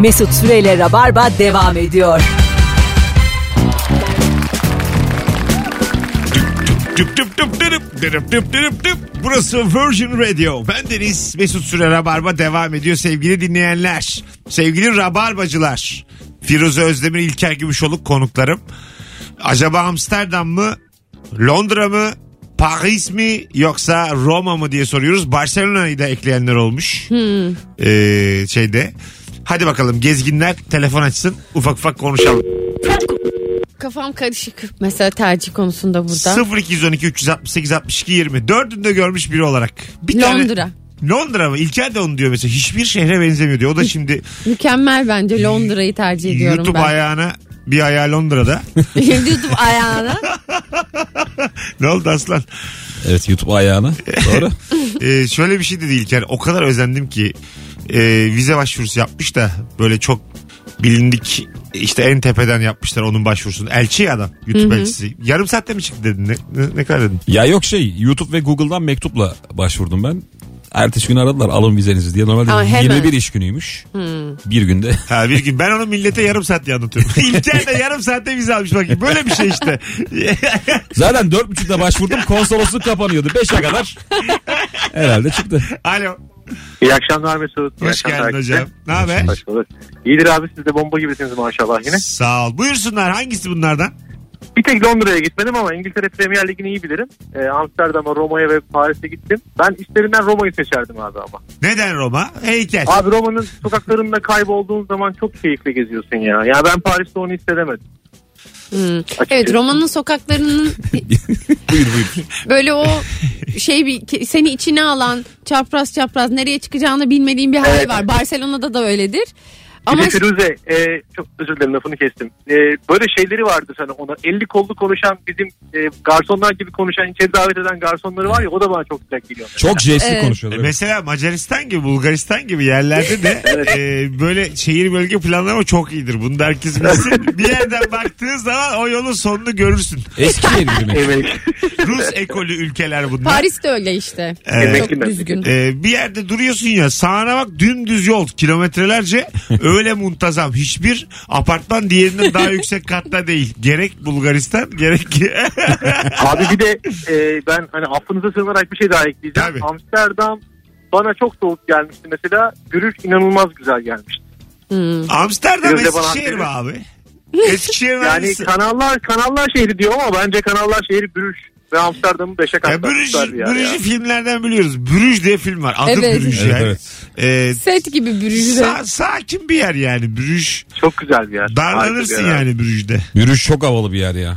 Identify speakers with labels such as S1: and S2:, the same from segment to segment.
S1: Mesut Süreyle Rabarba devam ediyor.
S2: Düp düp düp dürüp, dürüp düp dürüp düp. Burası Virgin Radio. Ben Deniz Mesut Süre Rabarba devam ediyor sevgili dinleyenler. Sevgili Rabarbacılar. Firuze Özdemir, İlker Gümüşoluk konuklarım. Acaba Amsterdam mı? Londra mı? Paris mi yoksa Roma mı diye soruyoruz. Barcelona'yı da ekleyenler olmuş. Ee, şeyde. Hadi bakalım gezginler telefon açsın. Ufak ufak konuşalım.
S3: Kafam karışık mesela tercih konusunda burada.
S2: 0212 368 62 20. Dördünü de görmüş biri olarak. Bir tane-
S3: Londra.
S2: Londra mı? İlker de onu diyor mesela. Hiçbir şehre benzemiyor diyor. O da şimdi
S3: Mükemmel bence Londra'yı tercih ediyorum
S2: YouTube
S3: ben.
S2: ayağına bir ayağı Londra'da.
S3: YouTube ayağına.
S2: ne oldu aslan?
S4: Evet YouTube ayağına. Doğru.
S2: Ee, şöyle bir şey dedi İlker. O kadar özendim ki e, vize başvurusu yapmış da böyle çok bilindik işte en tepeden yapmışlar onun başvurusunu. Elçi ya adam. YouTube elçisi. Yarım saatte mi çıktı dedin? Ne, ne, ne kadar dedin?
S4: ya yok şey YouTube ve Google'dan mektupla başvurdum ben. Ertesi gün aradılar alın vizenizi diye. Normalde
S3: Aa, hemen. Hmm.
S4: 21 iş günüymüş. Bir günde.
S2: Ha bir gün ben onu millete yarım saat diye anlatıyorum. İlker de yarım saatte vize almış bak. Böyle bir şey işte.
S4: Zaten 4.30'da başvurdum konsolosluk kapanıyordu. 5'e kadar herhalde çıktı.
S2: Alo.
S5: İyi akşamlar Mesut. İyi
S2: Hoş
S5: akşamlar
S2: geldin
S5: herkese.
S2: hocam. Ne haber?
S5: Hoş bulduk. İyidir abi siz de bomba gibisiniz maşallah yine.
S2: Sağ ol. Buyursunlar hangisi bunlardan?
S5: Bir tek Londra'ya gitmedim ama İngiltere Premier Ligi'ni iyi bilirim. Ee, Amsterdam'a, Roma'ya ve Paris'e gittim. Ben işlerinden Roma'yı seçerdim abi ama.
S2: Neden Roma? Heykel.
S5: Abi Roma'nın sokaklarında kaybolduğun zaman çok keyifli geziyorsun ya. Ya ben Paris'te onu hissedemedim.
S3: Hmm. Evet Roma'nın sokaklarının
S4: Buyur buyur.
S3: böyle o şey bir ke- seni içine alan çapraz çapraz nereye çıkacağını bilmediğin bir hali
S5: Evet.
S3: var. Barcelona'da da öyledir.
S5: Bir
S3: Ama
S5: de Firuze e, çok özür dilerim lafını kestim. E, böyle şeyleri vardı sana ona 50 kollu konuşan bizim e, garsonlar gibi konuşan içeri davet eden garsonları var ya o da bana çok sıcak geliyor.
S4: Çok jestli
S3: Evet.
S2: E,
S4: konuşuyorlar.
S2: Mesela Macaristan gibi Bulgaristan gibi yerlerde de e, böyle şehir bölge planlama çok iyidir. Bunu da herkes bilsin. Bir yerden baktığın zaman o yolun sonunu görürsün.
S4: Eski yer gibi.
S5: Evet.
S2: Rus ekolü ülkeler bunlar.
S3: Paris de öyle işte.
S2: Evet.
S3: Çok düzgün.
S2: E, bir yerde duruyorsun ya sağına bak dümdüz yol kilometrelerce öyle muntazam hiçbir apartman diğerinden daha yüksek katta değil gerek Bulgaristan gerek
S5: Abi bir de e, ben hani affınıza sığınarak bir şey daha ekleyeceğim.
S2: Tabii.
S5: Amsterdam bana çok soğuk gelmişti mesela. Yürüyüş inanılmaz güzel gelmişti.
S3: Hmm.
S2: Amsterdam
S5: Biraz da bana
S2: Eskişehir mi abi? Eskişehir mi?
S5: Yani kanallar kanallar şehri diyor ama bence kanallar şehri Brüj ve Amsterdam'ı beşe
S2: Ya Brüj,
S5: katlamışlar bir yer
S2: Brüj'ü
S5: ya.
S2: filmlerden biliyoruz. Brüj diye film var. Adı
S3: Evet.
S2: Brüj
S4: Evet,
S2: yani.
S4: evet.
S2: Ee,
S3: Set gibi bürücü
S2: sa- sakin bir yer yani Brüj.
S5: Çok güzel bir yer.
S2: Darlanırsın
S5: Harika bir yer.
S2: yani Brüj'de.
S4: Yürüyüş çok havalı bir yer ya.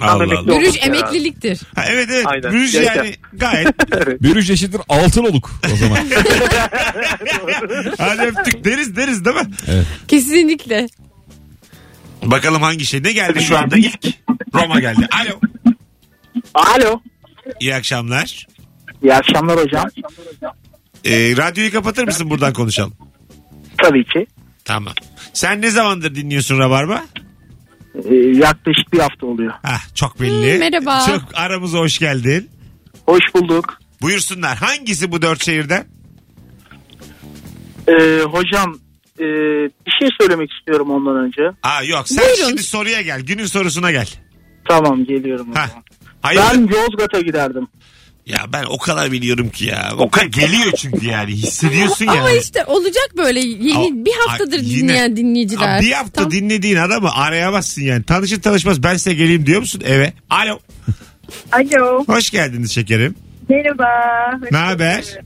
S2: Allah
S5: Anladık.
S2: Allah.
S5: Yok
S3: Bürüj
S5: ya.
S3: emekliliktir.
S2: Ha, evet evet.
S5: Aynen.
S2: Brüj
S5: Yaşa.
S2: yani gayet.
S4: Bürüş eşittir altın oluk o zaman.
S2: Hadi öptük deriz deriz değil mi?
S3: Kesinlikle.
S2: Bakalım hangi şey. Ne geldi şu anda ilk? Roma geldi. Alo.
S6: Alo.
S2: İyi akşamlar.
S6: İyi akşamlar hocam.
S2: Ee, radyoyu kapatır mısın buradan konuşalım?
S6: Tabii ki.
S2: Tamam. Sen ne zamandır dinliyorsun Rabarba?
S6: Ee, yaklaşık bir hafta oluyor.
S2: Hah, çok belli.
S3: Hmm, merhaba.
S2: Çok aramıza hoş geldin.
S6: Hoş bulduk.
S2: Buyursunlar. Hangisi bu dört şehirden?
S6: Ee, hocam e, bir şey söylemek istiyorum ondan önce.
S2: Aa yok sen
S3: Buyurun.
S2: şimdi soruya gel. Günün sorusuna gel.
S6: Tamam geliyorum. o
S2: Hah.
S6: zaman.
S2: Hayır.
S6: Ben Yozgat'a giderdim.
S2: Ya ben o kadar biliyorum ki ya. O kadar geliyor çünkü yani. Hissediyorsun yani.
S3: Ama işte olacak böyle
S2: Ama-
S3: yeni bir haftadır
S2: Ay, yine-
S3: dinleyen dinleyiciler.
S2: Aa, bir hafta
S3: Tam-
S2: dinlediğin adamı arayamazsın yani. Tanışır tanışmaz ben size geleyim diyor musun eve? Alo.
S7: Alo.
S2: Hoş geldiniz şekerim.
S7: Merhaba.
S2: Ne haber?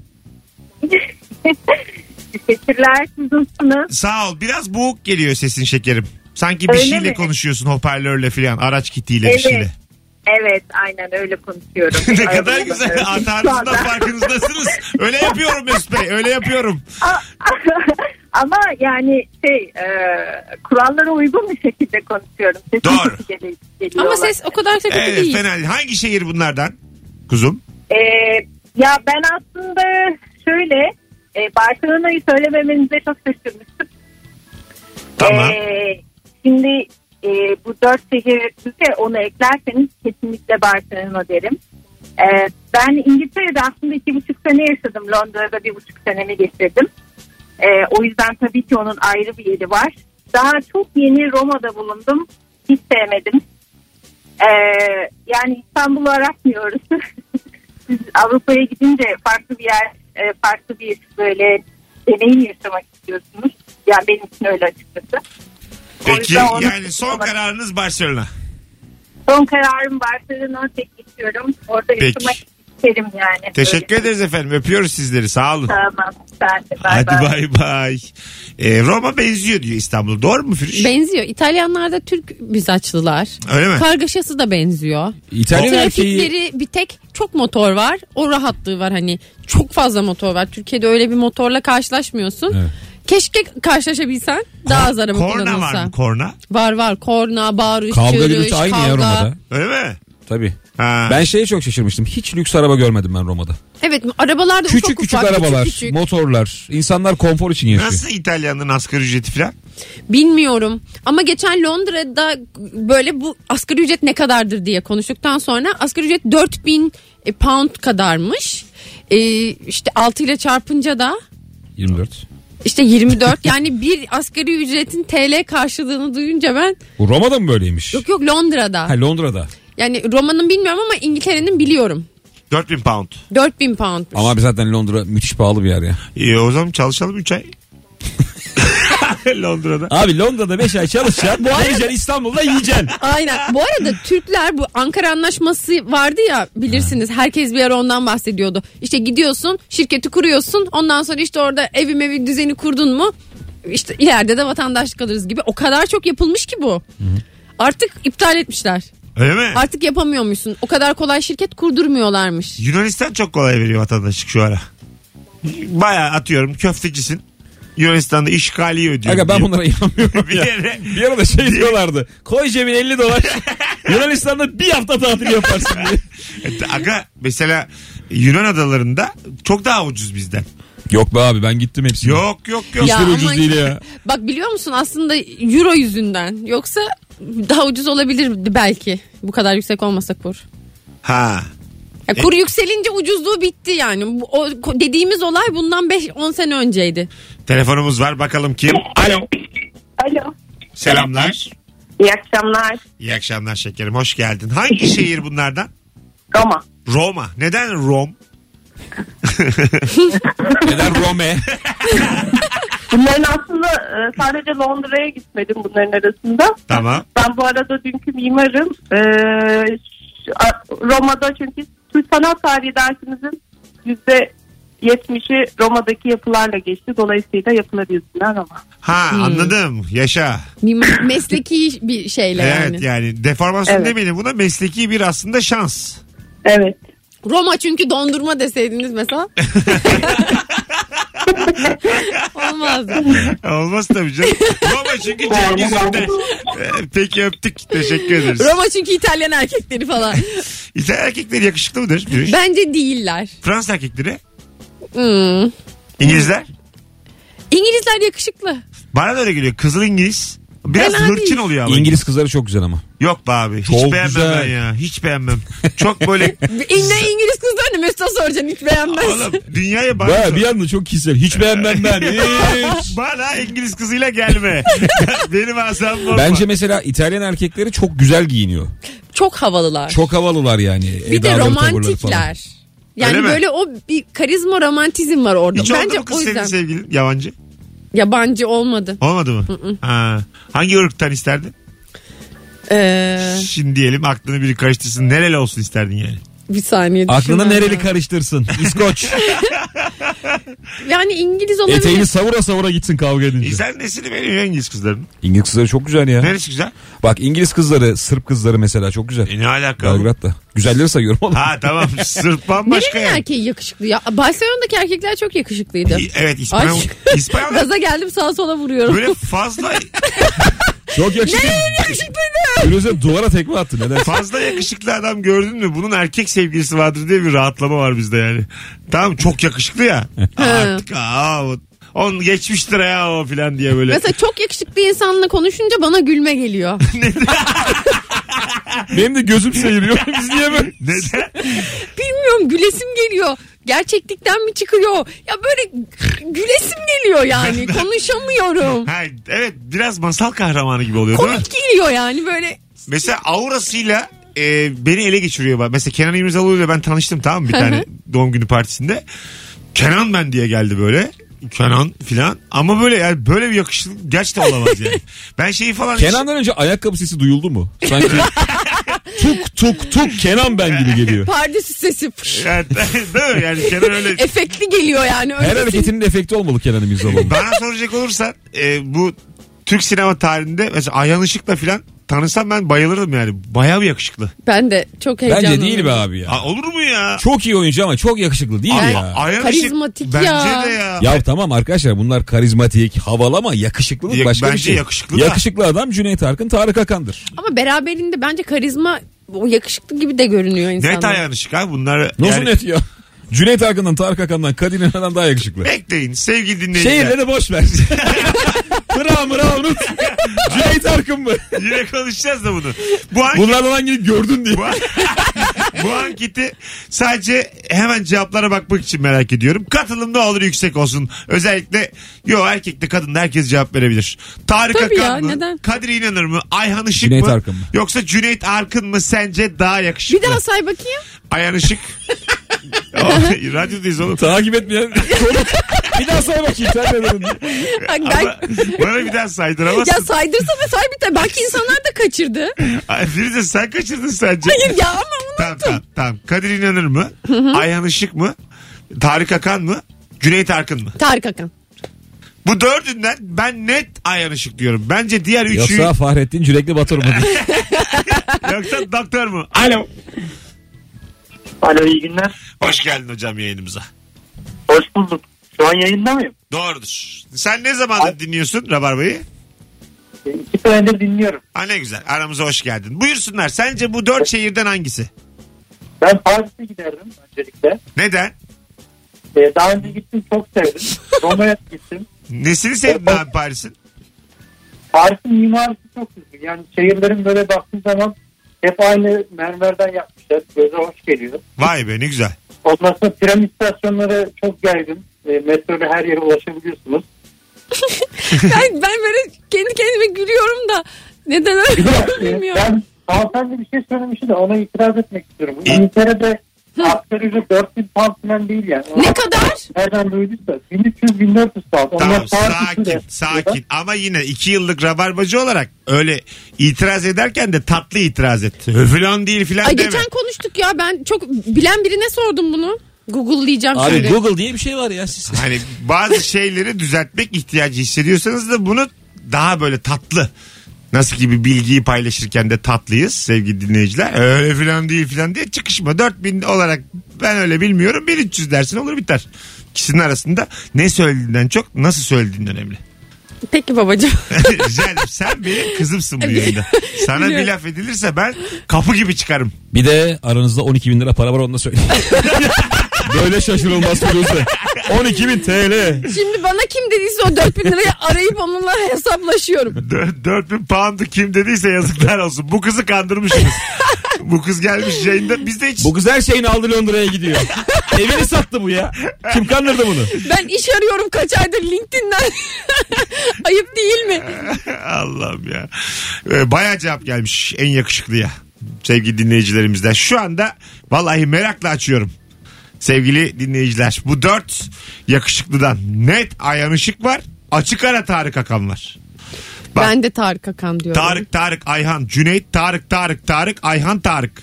S7: Teşekkürler. Siz nasılsınız?
S2: Sağ ol. Biraz boğuk geliyor sesin şekerim. Sanki bir
S7: Öyle
S2: şeyle
S7: mi?
S2: konuşuyorsun hoparlörle filan. Araç kitiyle bir
S7: Evet.
S2: şeyle.
S7: Evet aynen öyle konuşuyorum.
S2: ne
S7: Ay,
S2: kadar
S7: öyle
S2: güzel.
S7: konuşuyorum.
S2: Hatanızdan
S7: Şu anda-
S2: farkınızdasınız. Öyle yapıyorum Mesut Bey. Öyle yapıyorum.
S7: Ama yani şey e, kurallara uygun bir şekilde konuşuyorum. Sesim
S2: Doğru.
S7: kötü gele- geliyor
S3: Ama
S7: olabilir.
S3: ses o kadar kötü
S2: Evet
S3: değil.
S2: fena değil. Hangi şehir bunlardan? Kuzum.
S7: E, ya ben aslında şöyle e, Barcelona'yı söylememenize çok şaşırmıştım.
S2: Tamam.
S7: E, şimdi e, bu dört şehirde onu eklerseniz kesinlikle Barcelona derim. E, ben İngiltere'de aslında iki buçuk sene yaşadım. Londra'da bir buçuk senemi geçirdim. E, o yüzden tabii ki onun ayrı bir yeri var. Daha çok yeni Roma'da bulundum. Hiç sevmedim. E, yani İstanbul'u aratmıyoruz. Siz Avrupa'ya gidince farklı bir yer, e, farklı bir böyle deneyim yaşamak istiyorsunuz. Yani benim için öyle açıkçası. O
S2: Peki
S7: yüzden onu-
S2: yani son kararınız Barcelona.
S7: Son kararım Barcelona'ya tek geçiyorum. Orada
S2: Peki.
S7: yaşamak isterim yani.
S2: Teşekkür
S7: Öyle.
S2: ederiz efendim. Öpüyoruz sizleri. Sağ olun.
S7: Tamam. Ben de. Bay
S2: Hadi
S7: bay.
S2: bay bay. Ee, Roma benziyor diyor İstanbul. Doğru mu Firuş?
S3: Benziyor. İtalyanlar da Türk mizaçlılar.
S2: Öyle mi?
S3: Kargaşası da benziyor.
S4: İtalyan erkeği
S3: Trafikleri bir tek çok motor var. O rahatlığı var hani. Çok fazla motor var. Türkiye'de öyle bir motorla karşılaşmıyorsun.
S4: Evet.
S3: Keşke karşılaşabilsen. Daha az araba
S2: Korna var
S3: kullanılsa.
S2: mı? Korna.
S3: Var var. Korna, bağırış,
S4: kavga
S3: çığırış,
S4: gürültü aynı
S3: kavga.
S4: ya Roma'da.
S2: Öyle mi?
S4: Tabii.
S2: Ha.
S4: Ben şeye çok şaşırmıştım. Hiç lüks araba görmedim ben Roma'da.
S3: Evet arabalar da
S4: Küçük
S3: ufak
S4: küçük
S3: ufak,
S4: arabalar,
S3: küçük küçük.
S4: motorlar. İnsanlar konfor için yaşıyor.
S2: Nasıl İtalyanların asgari ücreti falan?
S3: Bilmiyorum. Ama geçen Londra'da böyle bu asgari ücret ne kadardır diye konuştuktan sonra asgari ücret 4000 e, pound kadarmış. E, işte 6 ile çarpınca da
S4: 24.
S3: işte 24 yani bir asgari ücretin TL karşılığını duyunca ben
S4: Bu Roma'da mı böyleymiş?
S3: yok yok Londra'da.
S4: Ha Londra'da.
S3: Yani Roma'nın bilmiyorum ama İngiltere'nin biliyorum.
S2: 4000 pound.
S3: 4000 pound.
S4: Ama abi zaten Londra müthiş pahalı bir yer ya.
S2: İyi Ee, o zaman çalışalım 3 ay. Londra'da.
S4: Abi Londra'da 5 ay çalışacaksın. Geleceksin İstanbul'da yiyeceksin.
S3: Aynen. Bu arada Türkler bu Ankara Anlaşması vardı ya bilirsiniz. Herkes bir ara ondan bahsediyordu. İşte gidiyorsun, şirketi kuruyorsun. Ondan sonra işte orada evim evi düzeni kurdun mu? İşte ileride de vatandaşlık alırız gibi. O kadar çok yapılmış ki bu. Artık iptal etmişler.
S2: Öyle mi?
S3: Artık yapamıyormuşsun. O kadar kolay şirket kurdurmuyorlarmış.
S2: Yunanistan çok kolay veriyor vatandaşlık şu ara. Baya atıyorum köftecisin. Yunanistan'da işgaliyi ödüyor.
S4: Aga ben bunlara inanmıyorum
S2: Bir
S4: ya.
S2: yere-
S4: Bir arada şey diyorlardı. Koy cebine 50 dolar. Yunanistan'da bir hafta tatil yaparsın diye.
S2: E, Aga mesela Yunan adalarında çok daha ucuz bizden.
S4: Yok be abi ben gittim hepsine.
S2: Yok yok yok.
S3: Ya
S4: Hiçbiri
S3: ama
S4: ucuz değil ya.
S3: Bak biliyor musun aslında euro yüzünden. Yoksa daha ucuz olabilirdi belki. Bu kadar yüksek olmasa kur.
S2: Ha.
S3: Ya
S2: E-
S3: kur yükselince ucuzluğu bitti yani. Bu- O ko- dediğimiz olay bundan 5-10 sene önceydi.
S2: Telefonumuz var bakalım kim? Alo.
S7: Alo.
S2: Selamlar.
S7: İyi akşamlar.
S2: İyi akşamlar şekerim hoş geldin. Hangi şehir bunlardan?
S7: Roma.
S2: Roma. Neden Rom?
S4: Neden Rome?
S7: Bunların aslında e, sadece Londra'ya gitmedim bunların arasında.
S2: Tamam.
S7: Ben bu arada dünkü mimarım. E, şu- a- Roma'da çünkü Türk sanat tarihi dersimizin yüzde yetmişi Roma'daki yapılarla geçti. Dolayısıyla yapılar yüzünden Roma.
S2: Ha
S7: Hmm.
S2: anladım. Yaşa.
S3: Mimar- Mesleki bir şeyle
S2: Evet yani,
S3: yani.
S2: deformasyon
S7: Evet.
S2: demeyelim buna mesleki bir aslında şans.
S7: Evet.
S3: Roma çünkü dondurma deseydiniz mesela. Olmaz.
S2: E, Olmaz tabii canım. Roma çünkü Cengiz'inde. Peki öptük. Teşekkür ederiz.
S3: Roma çünkü İtalyan erkekleri falan.
S2: İtalyan erkekleri yakışıklı mıdır? Bir.
S3: Bence değiller.
S2: Fransız erkekleri.
S3: Hmm.
S2: İngilizler.
S3: İngilizler yakışıklı.
S2: Bana da öyle geliyor. Kızıl İngiliz. Biraz
S3: Fena
S2: hırçın
S3: değil.
S2: oluyor ama.
S4: İngiliz kızları çok güzel ama.
S2: Yok be abi. Hiç
S4: Çok
S2: beğenmem
S4: güzel.
S2: ben ya. Hiç beğenmem. Çok böyle
S3: Ne İngiliz kızlarını Mesut'a soracaksın hiç beğenmez.
S2: oğlum dünyaya bak.
S4: Baya bir anda çok kişisel. Hiç beğenmem ben. Hiç.
S2: Bana İngiliz kızıyla gelme. Benim asam bozma.
S4: Bence mesela İtalyan erkekleri çok güzel giyiniyor.
S3: Çok havalılar.
S4: Çok havalılar yani.
S3: bir de
S4: edaları, tavırları falan.
S3: romantikler. Yani
S2: Öyle mi?
S3: böyle o bir karizma romantizm var orada.
S2: Hiç oldu
S3: Bence
S2: mu kız
S3: o
S2: senin şey-
S3: yüzden
S2: sevgilin? Yabancı.
S3: yabancı olmadı.
S2: Olmadı mı? Ha. Hangi ırktan isterdin?
S3: Ee,
S2: Şimdi diyelim aklını biri karıştırsın. Nereli olsun isterdin yani?
S3: bir saniye
S4: Aklına
S3: düşünmem
S4: nereli
S3: lazım.
S4: karıştırsın. İskoç.
S3: Yani İngiliz olabilir.
S4: Eteğini savura savura gitsin kavga edince.
S2: Sen nesini beğeniyorsun İngiliz kızların?
S4: İngiliz kızları çok güzel ya.
S2: Neresi güzel?
S4: Bak İngiliz kızları, Sırp kızları mesela çok güzel.
S2: E ne alaka? oğlum?
S4: Belgrad'da. Güzelleri sayıyorum oğlum.
S2: Ha tamam Sırp
S3: Nerenin
S2: bambaşka yani.
S3: erkeği yakışıklı ya? Barcelona'daki erkekler çok yakışıklıydı.
S2: İ- Evet İspanyol.
S3: Ay.
S2: İspanyol
S3: Gaza geldim sağa sola vuruyorum.
S2: böyle fazla
S4: Çok yakışıklı. Firuze duvara tekme attı. Neden?
S2: fazla yakışıklı adam gördün mü? Bunun erkek sevgilisi vardır diye bir rahatlama var bizde yani. Tamam çok yakışıklı ya. Artık aa, o- on geçmiştir ya o filan diye böyle.
S3: Mesela çok yakışıklı insanla konuşunca bana gülme geliyor.
S4: Benim de gözüm seyiriyor. Biz niye böyle?
S2: Neden?
S3: bilmiyorum gülesim geliyor. Gerçeklikten mi çıkıyor? Ya böyle gülesim geliyor yani. Konuşamıyorum.
S2: Ha, evet biraz masal kahramanı gibi oluyor değil mi?
S3: Komik geliyor yani böyle.
S2: Mesela aurasıyla e, beni ele geçiriyor. bak. Mesela Kenan İmirzalıoğlu'yla ben tanıştım tamam mı bir tane doğum günü partisinde. Kenan ben diye geldi böyle. Kenan filan ama böyle yani böyle bir yakışıklı gerçekten olamaz yani. Ben şeyi falan
S4: Kenan'dan önce ayakkabı sesi duyuldu mu? Sanki tuk tuk tuk Kenan ben gibi geliyor.
S3: Pardesü sesi. pış.
S2: yani, değil mi? yani Kenan öyle
S3: Efektli geliyor yani. Öyle
S4: Her hareketinin efekti olmalı Kenan İmirzalıoğlu.
S2: Bana soracak olursan e, bu Türk sinema tarihinde mesela Ayhan Işık'la filan tanısam ben bayılırdım yani. Bayağı bir yakışıklı.
S3: Ben de çok heyecanlı.
S4: Bence değil be abi ya.
S2: Aa, olur mu ya?
S4: Çok iyi oyuncu ama çok yakışıklı değil
S2: Ama
S4: ya.
S2: Ayhan
S3: Karizmatik
S2: Işık,
S3: ya.
S2: Bence de ya.
S4: Ya tamam arkadaşlar bunlar karizmatik, havalı ama yakışıklılık
S2: Ya-
S4: başka bir
S2: bence
S4: şey.
S2: yakışıklı da.
S4: Yakışıklı adam Cüneyt Arkın, Tarık Akan'dır.
S3: Ama beraberinde bence karizma o yakışıklı gibi de görünüyor insanlar.
S2: Net Ayhan Işık abi bunlar.
S4: Nasıl
S2: yani-
S4: net ya? Cüneyt Arkın'dan, Tarık Akan'dan, Kadir İnan'dan daha yakışıklı.
S2: Bekleyin sevgili dinleyiciler.
S4: Şehirleri boş ver. Mıra mıra unut. Cüneyt Arkın mı?
S2: Yine konuşacağız da bunu. Bu an
S4: Bunlardan hangi gördün diye.
S2: bu, an- bu anketi sadece hemen cevaplara bakmak için merak ediyorum. Katılım ne olur yüksek olsun. Özellikle yo erkekte kadın herkes cevap verebilir. Tarık
S3: Tabii
S2: Akan
S3: ya,
S2: mı?
S3: neden?
S2: Kadir İnanır mı? Ayhan Işık
S4: Cüneyt
S2: mı?
S4: Arkın mı?
S2: Yoksa Cüneyt Arkın mı sence daha yakışıklı?
S3: Bir daha say bakayım.
S2: Ayhan Işık. O, Radyodayız oğlum.
S4: Takip etmeyen Bir daha say bakayım sen ne dedin?
S3: Bak ben-
S2: Ama bana bir daha
S3: ya
S2: saydıramazsın.
S3: saydırsana say bir tane. Belki insanlar da kaçırdı.
S2: Ay, Firuze sen kaçırdın sence.
S3: Hayır ya ama onu
S2: Tamam tamam tamam. Kadir İnanır mı? Ayhan Işık mı? Tarık Akan mı? Cüneyt Arkın mı?
S3: Tarık Akan.
S2: Bu dördünden ben net Ayhan Işık diyorum. Bence diğer üçü
S4: Yoksa Fahrettin Cürekli Batur mu?
S2: yoksa doktor mu? Alo.
S6: Alo iyi günler.
S2: Hoş geldin hocam yayınımıza.
S6: Hoş bulduk. Şu an yayında mıyım?
S2: Doğrudur. Sen ne zamandır dinliyorsun Rabarba'yı?
S6: E, İki senedir dinliyorum.
S2: Ha ne güzel. Aramıza hoş geldin. Buyursunlar. Sence bu dört şehirden hangisi?
S6: Ben Paris'e giderdim öncelikle.
S2: Neden?
S6: E, daha önce gittim çok sevdim. Roma'ya gittim.
S2: Nesini sevdin
S6: Evet.
S2: abi Paris'in?
S6: Paris'in mimarisi çok güzel. Yani şehirlerin böyle baktığın zaman hep aynı mermerden yapmışlar. Göze hoş geliyor.
S2: Vay be ne güzel.
S6: Ondan sonra tren istasyonları çok yaygın. E, metro ile her yere ulaşabiliyorsunuz.
S3: ben, ben böyle kendi kendime gülüyorum da neden
S6: Bir de,
S3: öyle
S6: e,
S3: bilmiyorum.
S6: ben hanımefendi bir şey söylemişti de ona itiraz etmek istiyorum. İngiltere'de asgari ücret 4000 pound falan değil yani.
S3: Ne kadar?
S6: Nereden duyduysa 1300-1400 pound.
S2: Tamam
S6: Onlar saat
S2: sakin
S6: üstüne.
S2: sakin ama yine iki yıllık rabarbacı olarak öyle itiraz ederken de tatlı itiraz et. Hüflan değil filan
S3: Ay
S2: deme.
S3: geçen konuştuk ya ben çok bilen birine sordum bunu. Google'layacağım
S4: Abi
S3: şimdi.
S4: Google diye bir şey var ya siz.
S2: Hani bazı şeyleri düzeltmek ihtiyacı hissediyorsanız da bunu daha böyle tatlı nasıl gibi bilgiyi paylaşırken de tatlıyız sevgili dinleyiciler. Öyle filan değil filan diye çıkışma. 4000 olarak ben öyle bilmiyorum 1300 dersin olur biter. İkisinin arasında ne söylediğinden çok nasıl söylediğin önemli.
S3: Peki babacığım.
S2: Rica ederim. Sen benim kızımsın bu yayında. Sana bir
S3: Biliyorum.
S2: laf edilirse ben kapı gibi çıkarım.
S4: Bir de aranızda 12 bin lira para var onu da söyleyeyim. Böyle şaşırılmaz Firuze. 12 bin TL.
S3: Şimdi bana kim dediyse o 4000 lirayı arayıp onunla hesaplaşıyorum.
S2: Dö- 4000 pound'u kim dediyse yazıklar olsun. Bu kızı kandırmışsınız. bu kız gelmiş yayında. Biz de hiç
S4: Bu kız her şeyini aldı Londra'ya gidiyor. Evini sattı bu ya. Kim kandırdı bunu?
S3: Ben iş arıyorum kaç aydır LinkedIn'den. Ayıp değil mi?
S2: Allah'ım ya. Ee, bayağı cevap gelmiş en yakışıklıya. Sevgili dinleyicilerimizden. Şu anda vallahi merakla açıyorum. Sevgili dinleyiciler bu dört yakışıklıdan net Ayhan Işık var. Açık ara Tarık Akan var. Bak.
S3: Ben de Tarık Akan diyorum.
S2: Tarık Tarık Ayhan Cüneyt Tarık Tarık Tarık Ayhan Tarık.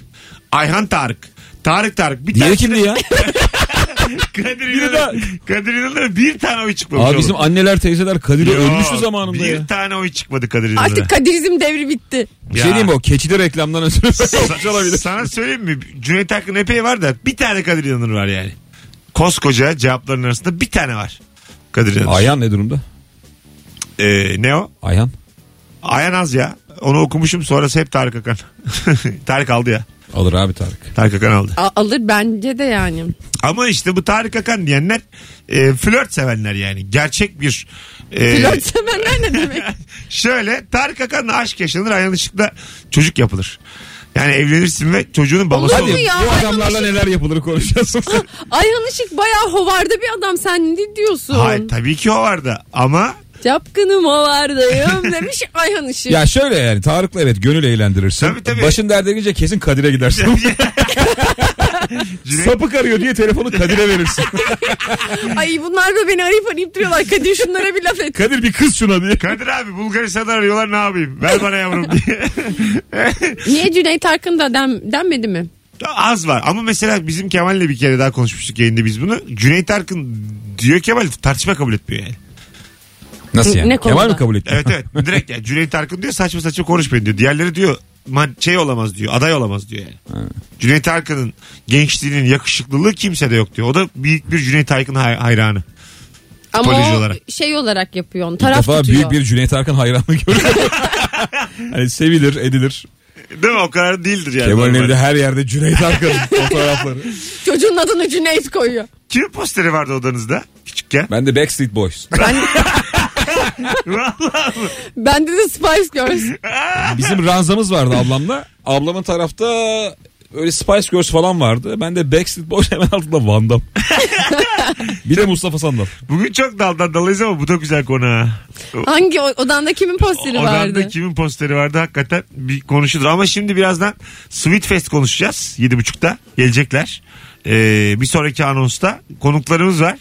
S2: Ayhan Tarık. Tarık Tarık. Bir
S4: Diğeri
S2: tane
S4: kimdi ya?
S2: Kadir
S4: Biri
S2: İnanır. Kadir İnanır bir tane oy çıkmamış.
S4: Abi
S2: oğlum.
S4: bizim anneler teyzeler Kadir'e
S2: Yok,
S4: ölmüştü zamanında
S2: bir
S4: ya.
S2: tane oy çıkmadı Kadir İnanır'a.
S3: Artık kadirizm devri bitti.
S4: Bir şey diyeyim mi o keçili reklamdan ötürü olmuş
S2: Sa-
S4: olabilir.
S2: Sana söyleyeyim mi? Cüneyt Akın epey var da bir tane Kadir İnanır var yani. Koskoca cevapların arasında bir tane var. Kadir İnanır.
S4: Ayhan ne durumda?
S2: Ee, ne o?
S4: Ayhan.
S2: Ayhan az ya. Onu okumuşum sonrası hep Tarık Akan. Tarık aldı ya.
S4: Alır abi Tarık.
S2: Tarık Akan aldı.
S3: A- alır bence de yani.
S4: Ee,
S2: Ama işte bu Tarık Akan diyenler e, flört sevenler yani. Gerçek bir... e,
S3: Flört sevenler ne demek?
S2: Şöyle Tarık Akan'la aşk yaşanır ayrılışıkla çocuk yapılır. Yani evlenirsin ve çocuğunun babası
S3: Olur
S2: olur.
S3: mu ya?
S4: Bu
S3: Ayhan
S4: adamlarla
S3: Işık-
S4: neler yapılır konuşacağız.
S3: Ayhan Işık bayağı hovarda bir adam sen ne diyorsun?
S2: Hayır tabii ki o vardı ama
S3: Çapkınım hovardayım demiş Ayhan Işık.
S4: ya şöyle yani Tarık'la evet gönül eğlendirirsin.
S2: Tabii, tabii.
S4: Başın derde gelince kesin Kadir'e gidersin.
S2: Cüneyt,
S4: Sapık arıyor diye telefonu Kadir'e verirsin.
S3: Ay bunlar da beni arayıp arayıp duruyorlar. Kadir şunlara bir laf et.
S4: Kadir bir kız şuna diye.
S2: Kadir abi Bulgaristan'da arıyorlar ne yapayım? Ver bana yavrum diye.
S3: Niye Cüneyt Arkın da den, denmedi mi?
S2: Az var ama mesela bizim Kemal'le bir kere daha konuşmuştuk yayında biz bunu. Cüneyt Arkın diyor Kemal tartışma kabul etmiyor yani.
S4: Nasıl
S3: Ne
S4: yani? Kemal
S3: konuda?
S4: mi kabul etti?
S2: Evet evet direkt yani Cüneyt Arkın diyor saçma saçma konuşmayın diyor. Diğerleri diyor "Man- şey olamaz diyor aday olamaz diyor yani. Cüneyt Arkın'ın gençliğinin yakışıklılığı kimsede yok diyor. O da büyük bir Cüneyt Arkın hay- hayranı.
S3: Ama
S2: Psikoloji
S3: o
S2: olarak.
S3: şey olarak yapıyor. Onu,
S4: İlk
S3: taraf
S4: defa
S3: tutuyor.
S4: büyük bir Cüneyt Arkın hayranı görüyorum. hani sevilir, edilir.
S2: Değil mi o kadar değildir yani.
S4: Kemal'in
S2: Normal.
S4: evinde her yerde Cüneyt Arkın fotoğrafları.
S3: Çocuğun adını Cüneyt koyuyor.
S2: Kimin posteri vardı odanızda küçükken?
S4: Ben de Backstreet Boys.
S2: Vallahi mı?
S3: Bende de Spice Girls.
S4: Bizim ranzamız vardı ablamla. Ablamın tarafta öyle Spice Girls falan vardı. Ben de Backstreet Boys hemen altında Van Damme. bir de Mustafa Sandal.
S2: Bugün çok daldan dalıyız ama bu da güzel konu ha.
S3: Hangi o- odanda kimin posteri
S2: Odanda
S3: vardı?
S2: kimin posteri vardı hakikaten bir konuşulur. Ama şimdi birazdan Sweet Fest konuşacağız. 7.30'da gelecekler. Ee, bir sonraki anonsta konuklarımız var.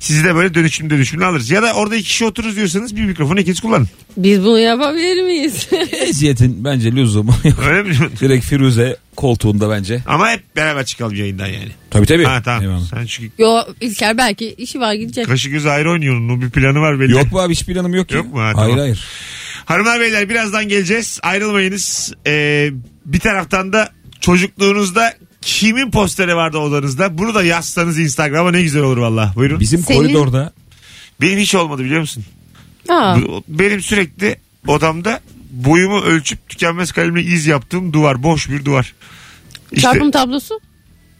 S2: Sizi de böyle dönüşüm dönüşümlü alırız. Ya da orada iki kişi otururuz diyorsanız bir mikrofonu ikiniz kullanın.
S3: Biz bunu yapabilir miyiz?
S4: Eziyetin bence lüzumu yok.
S2: Öyle mi?
S4: Direkt Firuze koltuğunda bence.
S2: Ama hep beraber çıkalım yayından yani.
S4: Tabii tabii.
S2: Ha tamam.
S4: Eyvallah.
S2: Sen çünkü
S3: Yo İlker belki işi var gidecek.
S2: kaşı göz ayrı oynuyorsun. Onun bir planı var belli.
S4: Yok mu abi hiçbir planım yok ki.
S2: Yok mu? Ha,
S4: hayır
S2: tamam.
S4: hayır.
S2: Hanımlar beyler birazdan geleceğiz. Ayrılmayınız. Ee, bir taraftan da çocukluğunuzda kimin posteri vardı odanızda? Bunu da yazsanız Instagram'a ne güzel olur valla. Buyurun.
S4: Bizim
S3: Senin-
S4: koridorda
S2: Benim hiç olmadı biliyor musun?
S3: Aa,
S2: Bu- Benim sürekli odamda boyumu ölçüp tükenmez kalemle iz yaptığım duvar. Boş bir duvar. İşte
S3: Çarpım tablosu?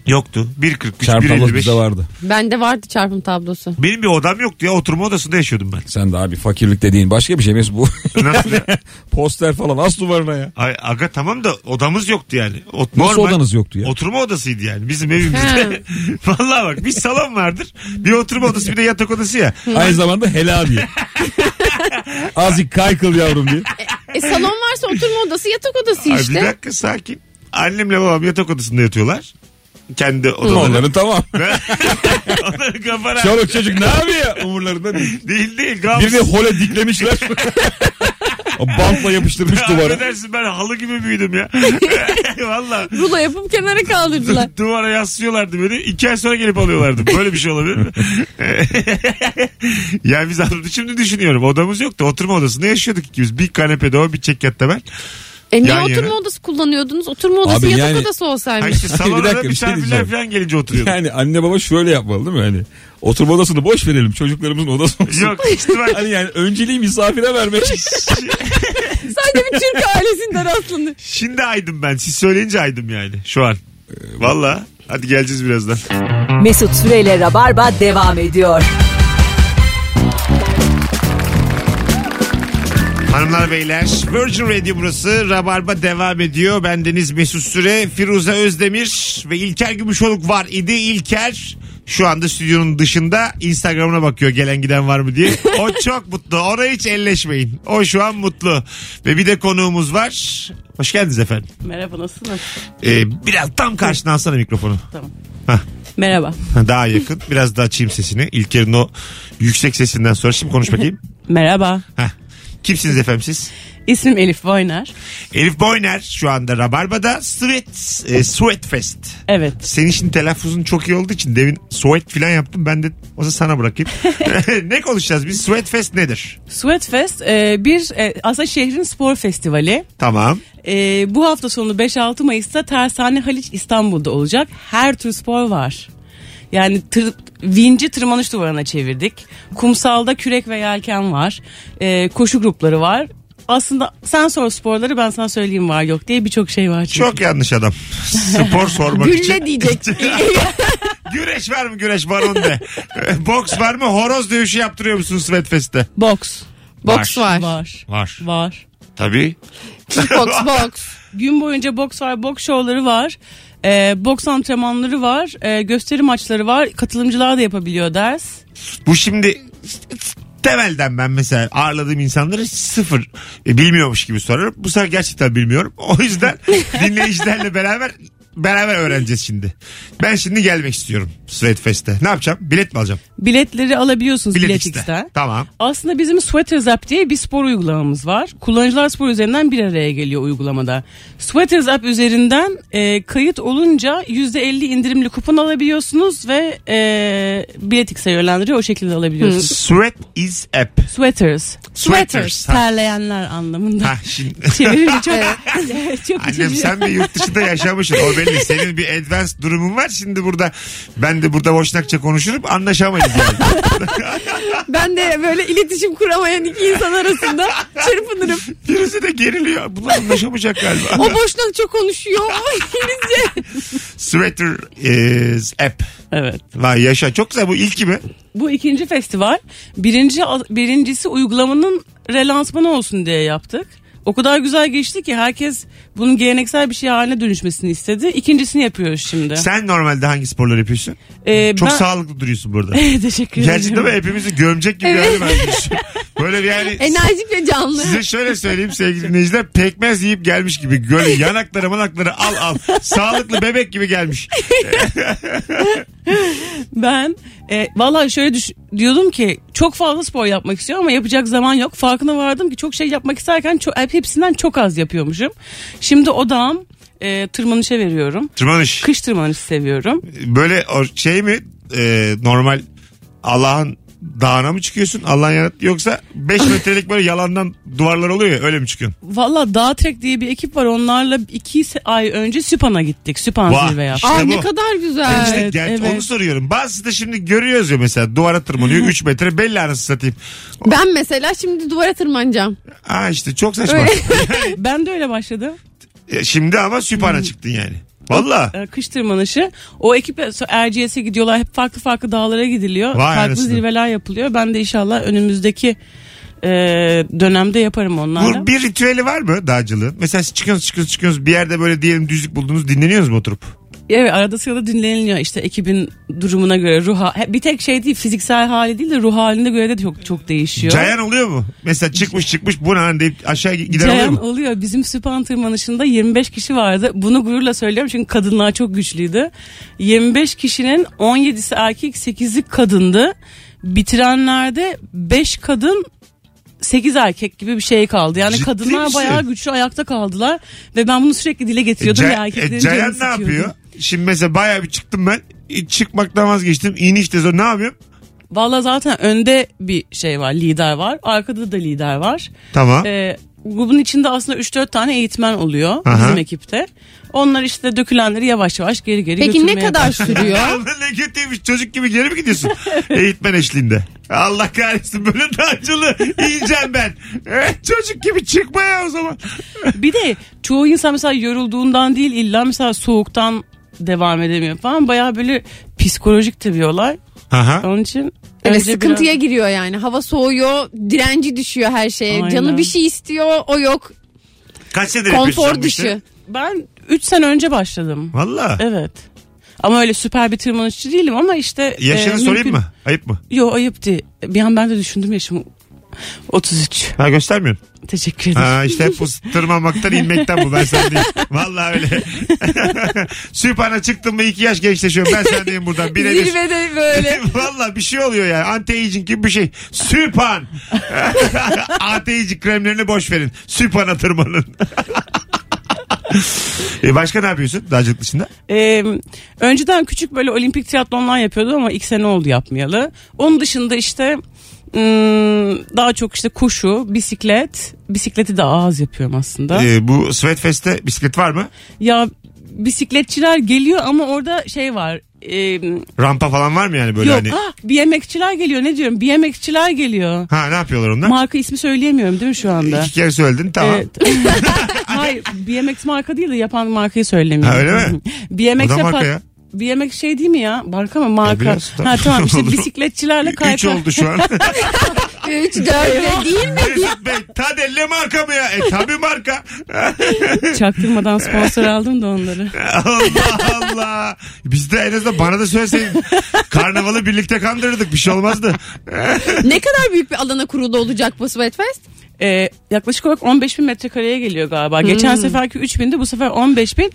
S2: yoktu. 1.43,
S4: çarpmalı
S2: 1.55.
S4: bize vardı.
S3: Bende vardı çarpım tablosu.
S2: Benim bir odam yoktu ya. Oturma odasında yaşıyordum ben.
S4: Sen de abi fakirlik dediğin başka bir şey Mesut bu.
S2: Nasıl?
S4: Poster falan as duvarına ya.
S2: Ay, aga tamam da odamız yoktu yani. O,
S4: Nasıl odanız yoktu ya?
S2: Oturma odasıydı yani bizim evimizde. Vallahi bak bir salon vardır. Bir oturma odası bir de yatak odası ya.
S4: Aynı zamanda helal diye. Azıcık kaykıl yavrum diye.
S3: E salon varsa oturma odası yatak odası
S2: Ay, bir
S3: işte.
S2: dakika sakin. Annemle babam yatak odasında yatıyorlar. Kendi odaları.
S4: Onların tamam.
S2: Onları kapara.
S4: Çoluk çocuk ne yapıyor? Umurlarında değil.
S2: Değil değil.
S4: Birini
S2: Gamsız.
S4: hole diklemişler. O Bantla yapıştırmış duvara.
S2: Affedersin ben halı gibi büyüdüm ya. Valla.
S3: Rulo yapıp kenara kaldırdılar.
S2: Duvara yaslıyorlardı beni. İki ay sonra gelip alıyorlardı. Böyle bir şey olabilir mi? yani biz aldık. Şimdi düşünüyorum. Odamız yoktu. Oturma odasında yaşıyorduk ikimiz. Bir kanepede o bir çekyatta ben.
S3: E niye
S2: Yan
S3: oturma
S2: yana.
S3: odası kullanıyordunuz? Oturma odası
S4: Abi
S3: yatak
S4: yani-
S3: odası
S2: Ha
S3: olsaymış.
S2: işte salona
S4: Bir dakika,
S2: da
S4: bir şey
S2: misafirler
S4: diyeceğim.
S2: falan gelince oturuyorduk.
S4: Yani anne baba şöyle yapmalı değil mi? Hani oturma odasını boş verelim. Çocuklarımızın odası olsun.
S2: Yok işte bak.
S4: Hani yani önceliği misafire vermek.
S3: Sadece bir Türk ailesinden aslında.
S2: Şimdi aydım ben. Siz söyleyince aydım yani şu an. Valla. Hadi geleceğiz birazdan.
S1: Mesut Süreyle Rabarba devam ediyor.
S2: Hanımlar beyler Virgin Radio burası Rabarba devam ediyor. Ben Deniz Mesut Süre, Firuze Özdemir ve İlker Gümüşoluk var idi. İlker şu anda stüdyonun dışında Instagram'ına bakıyor gelen giden var mı diye. O çok mutlu. Ona hiç elleşmeyin. O şu an mutlu. Ve bir de konuğumuz var. Hoş geldiniz efendim.
S8: Merhaba nasılsınız?
S2: Ee, biraz tam karşına alsana mikrofonu.
S8: Tamam.
S2: Hah.
S8: Merhaba.
S2: Daha yakın. Biraz daha açayım sesini. İlker'in o yüksek sesinden sonra. Şimdi konuş bakayım.
S8: Merhaba.
S2: Heh. Kimsiniz efendim siz?
S8: İsmim Elif Boyner.
S2: Elif Boyner şu anda Rabarba'da Sweat, e, Sweatfest.
S8: Evet.
S2: Senin için telaffuzun çok iyi olduğu için demin sweat falan yaptım. Ben de o zaman sana bırakayım. ne konuşacağız biz? Sweatfest nedir?
S8: Sweatfest e, bir e, aslında şehrin spor festivali.
S2: Tamam.
S8: E, bu hafta sonu 5-6 Mayıs'ta Tersane Haliç İstanbul'da olacak. Her tür spor var. Yani tır, vinci tırmanış duvarına çevirdik. Kumsalda kürek ve yelken var. E, koşu grupları var. Aslında sen sor sporları ben sana söyleyeyim var yok diye birçok şey var. Çünkü.
S2: Çok yanlış adam. Spor sormak için.
S3: Gülme diyecek.
S2: Güreş var mı güreş baron de. Boks var mı? Horoz dövüşü yaptırıyor musun Sweatfest'te?
S8: Boks
S3: Boks var.
S8: var.
S2: Var.
S8: Var.
S2: Tabii.
S3: Kickbox, box.
S8: Gün boyunca boks var, boks şovları var. E, boks antrenmanları var. e, gösteri maçları var. Katılımcılar da yapabiliyor ders.
S2: Bu şimdi temelden ben mesela ağırladığım insanları sıfır e, bilmiyormuş gibi sorarım. Bu sefer gerçekten bilmiyorum. O yüzden dinleyicilerle beraber beraber öğreneceğiz şimdi. Ben şimdi gelmek istiyorum Sweat Fest'e. Ne yapacağım? Bilet mi alacağım?
S8: Biletleri alabiliyorsunuz
S2: Bilet,
S8: Bilet
S2: X'te.
S8: X'ten.
S2: Tamam.
S8: Aslında bizim Sweaters App diye bir spor uygulamamız var. Kullanıcılar spor üzerinden bir araya geliyor uygulamada. Sweaters App üzerinden e, kayıt olunca %50 indirimli kupon alabiliyorsunuz ve e, Bilet X'e yönlendiriyor. O şekilde alabiliyorsunuz.
S2: Sweat is app.
S8: Sweaters.
S2: Sweaters. Ha,
S8: Terleyenler anlamında.
S2: ha şimdi.
S8: Çevirince çok, çok
S2: Annem
S8: içici.
S2: sen bir yurt dışında yaşamışsın o belli. Senin bir advance durumun var şimdi burada. Ben de burada boşnakça konuşurum anlaşamayız yani.
S3: Ben de böyle iletişim kuramayan iki insan arasında çırpınırım.
S2: Birisi de geriliyor. Bunlar anlaşamayacak galiba.
S3: O boşuna çok konuşuyor. O İngilizce.
S2: Sweater is app.
S8: Evet.
S2: Vay yaşa çok güzel bu ilki mi?
S8: Bu ikinci festival. Birinci birincisi uygulamanın relansmanı olsun diye yaptık. O kadar güzel geçti ki herkes bunun geleneksel bir şey haline dönüşmesini istedi. İkincisini yapıyoruz şimdi.
S2: Sen normalde hangi sporları yapıyorsun?
S8: Ee,
S2: Çok
S8: ben-
S2: sağlıklı duruyorsun burada.
S8: Teşekkür ederim.
S2: Gerçekten böyle hepimizi gömecek gibi evet. Böyle bir yani
S3: Enerjik ve canlı.
S2: size şöyle söyleyeyim sevgili dinleyiciler pekmez yiyip gelmiş gibi böyle yanakları manakları al al sağlıklı bebek gibi gelmiş.
S8: Ben e, valla şöyle düş- diyordum ki çok fazla spor yapmak istiyorum ama yapacak zaman yok. Farkına vardım ki çok şey yapmak isterken çok, hepsinden çok az yapıyormuşum. Şimdi odağım e, tırmanışa veriyorum.
S2: Tırmanış.
S8: Kış tırmanışı seviyorum.
S2: Böyle o şey mi e, normal Allah'ın dağına mı çıkıyorsun Allah'ın yarattığı yoksa 5 metrelik böyle yalandan duvarlar oluyor ya öyle mi çıkıyorsun?
S8: Valla Dağ Trek diye bir ekip var. Onlarla iki se- ay önce Süphan'a gittik. Süphan
S2: Vah.
S8: zirve yaptık.
S3: Aa,
S2: İşte
S3: ne
S2: bu.
S3: kadar
S2: İşte
S3: güzel.
S2: ger-
S8: evet.
S2: Onu soruyorum. Bazısı da şimdi görüyoruz ya mesela duvara tırmanıyor 3 metre belli arası satayım.
S3: Ben mesela şimdi duvara tırmanacağım.
S2: Aa işte çok saçma.
S3: Öyle.
S8: Ben de öyle başladım.
S2: E, Şimdi ama süpana çıktın yani. Valla.
S8: Ee, Kış tırmanışı. O ekiple so- Erciyes'e gidiyorlar. Hep farklı farklı dağlara gidiliyor.
S2: Vay
S8: farklı
S2: anasını.
S8: zirveler yapılıyor. Ben de inşallah önümüzdeki e, dönemde yaparım onlarla.
S2: Bu bir ritüeli var mı dağcılığın? Mesela siz çıkıyorsunuz çıkıyorsunuz çıkıyorsunuz bir yerde böyle diyelim düzlük buldunuz dinleniyoruz mu oturup?
S8: Evet arada sırada dinleniliyor işte ekibin durumuna göre ruh ha- he- bir tek şey değil fiziksel hali değil de ruh haline göre de çok çok değişiyor.
S2: Cayan oluyor mu? Mesela çıkmış çıkmış bu ne lan deyip aşağı giden oluyor
S8: Cayan
S2: mu?
S8: oluyor. Bizim Süphan tırmanışında 25 kişi vardı. Bunu gururla söylüyorum çünkü kadınlar çok güçlüydü. 25 kişinin 17'si erkek, 8'i kadındı. Bitirenlerde 5 kadın 8 erkek gibi bir şey kaldı. Yani
S2: Ciddi
S8: kadınlar
S2: misin?
S8: bayağı güçlü ayakta kaldılar ve ben bunu sürekli dile getiriyordum
S2: E,
S8: ve
S2: Ca-
S8: erkeklerin
S2: e,
S8: canını
S2: Cayan ne
S8: sıkıyordum.
S2: yapıyor? Şimdi mesela bayağı bir çıktım ben. E, Çıkmaktan vazgeçtim. İniş de zor. Ne yapıyorum?
S8: Valla zaten önde bir şey var, lider var. Arkada da lider var.
S2: Tamam.
S3: E,
S8: Ee, grubun içinde aslında 3-4 tane eğitmen oluyor
S2: Aha.
S8: bizim ekipte. Onlar işte dökülenleri yavaş yavaş geri geri
S3: Peki
S8: götürmeye
S3: ne kadar sürüyor?
S2: Ama ne kötüymüş çocuk gibi geri mi gidiyorsun? Eğitmen eşliğinde. Allah kahretsin böyle dağcılığı yiyeceğim ben. Evet, çocuk gibi çıkma ya o zaman.
S8: Bir de çoğu insan mesela yorulduğundan değil illa mesela soğuktan devam edemiyor falan. Baya böyle psikolojik de bir olay.
S2: Aha.
S8: Onun için
S3: Evet
S8: önce
S3: sıkıntıya giriyor yani. Hava soğuyor, direnci düşüyor her şeye.
S8: Aynen.
S3: Canı bir şey istiyor, o yok.
S2: Kaç senedir
S3: Konfor
S2: yapıyorsun bu işi?
S3: dışı. E,
S8: biraz- Ben 3 sene önce başladım.
S2: Valla.
S8: Evet. Ama öyle süper bir tırmanışçı değilim ama işte...
S2: Yaşını
S8: e,
S2: sorayım
S8: mümkün-
S2: mı? Ayıp mı?
S8: Yo ayıp değil. Bir an ben de düşündüm yaşımı. 33.
S2: Ha göstermiyorsun.
S8: Teşekkür ederim.
S2: Ha işte hep bu tırmanmaktan inmekten bu ben sen değil. Valla öyle. Süpana çıktın mı iki yaş gençleşiyorum ben sen diyeyim buradan. Birebir.
S3: Zirvede böyle.
S2: Valla bir şey oluyor yani. Anti-aging gibi bir şey. Süpan. Anti-aging kremlerini boş verin. Süpana tırmanın. e başka ne yapıyorsun dağcılık dışında?
S8: Ee, önceden küçük böyle olimpik triatlonlar yapıyordum ama ilk sene oldu yapmayalı. Onun dışında işte ım, daha çok işte koşu, bisiklet. Bisikleti daha az yapıyorum aslında.
S2: E, bu Sweatfest'te bisiklet var mı?
S8: Ya bisikletçiler geliyor ama orada şey var. em,
S2: Rampa falan var mı yani böyle
S8: yok
S2: hani?
S8: ah, BMX'çiler geliyor ne diyorum BMX'çiler geliyor.
S2: Ha ne yapıyorlar onlar?
S8: Marka ismi söyleyemiyorum değil mi şu anda?
S2: İki kere söyledin tamam.
S8: Evet. Hayır BMX marka değil de yapan markayı
S2: Ha,
S8: söylemiyorum.
S2: öyle mi?
S8: BMX
S2: O da
S8: yapan-
S2: marka ya.
S8: BMX şey değil mi ya? Marka mı?
S2: E,
S8: Marka.
S2: biraz, tabii.
S8: ha tamam işte
S2: Olur.
S8: bisikletçilerle
S2: Üç
S8: kayka.
S2: oldu şu an.
S3: 3, 4 değil mi?
S2: Mesut Bey Tadelle marka mı ya? E tabi marka.
S8: Çaktırmadan sponsor aldım da onları.
S2: Allah Allah. Biz de en azından bana da söyleseydin. Karnavalı birlikte kandırırdık bir şey olmazdı.
S3: Ne kadar büyük bir alana kurulu olacak bu Sweatfest?
S8: Ee, yaklaşık olarak 15 bin metrekareye geliyor galiba. Geçen seferki 3 bindi bu sefer 15 bin.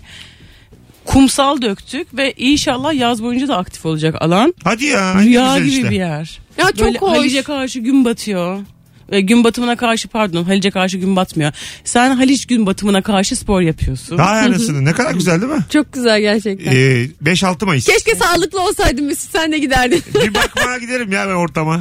S8: Kumsal döktük ve inşallah yaz boyunca da aktif olacak alan.
S2: Hadi ya. ne
S8: Rüya
S2: güzel
S8: gibi
S2: işte.
S8: bir yer.
S3: Ya çok
S8: Böyle
S3: hoş.
S8: Halice karşı gün batıyor. Ve gün batımına karşı pardon Halice karşı gün batmıyor. Sen Haliç gün batımına karşı spor yapıyorsun.
S2: Daha yarısını. Ne kadar güzel değil mi?
S3: Çok güzel gerçekten.
S2: Ee, 5-6 Mayıs.
S3: Keşke sağlıklı olsaydın Mesut sen de giderdin.
S2: Bir bakmaya giderim ya ben ortama.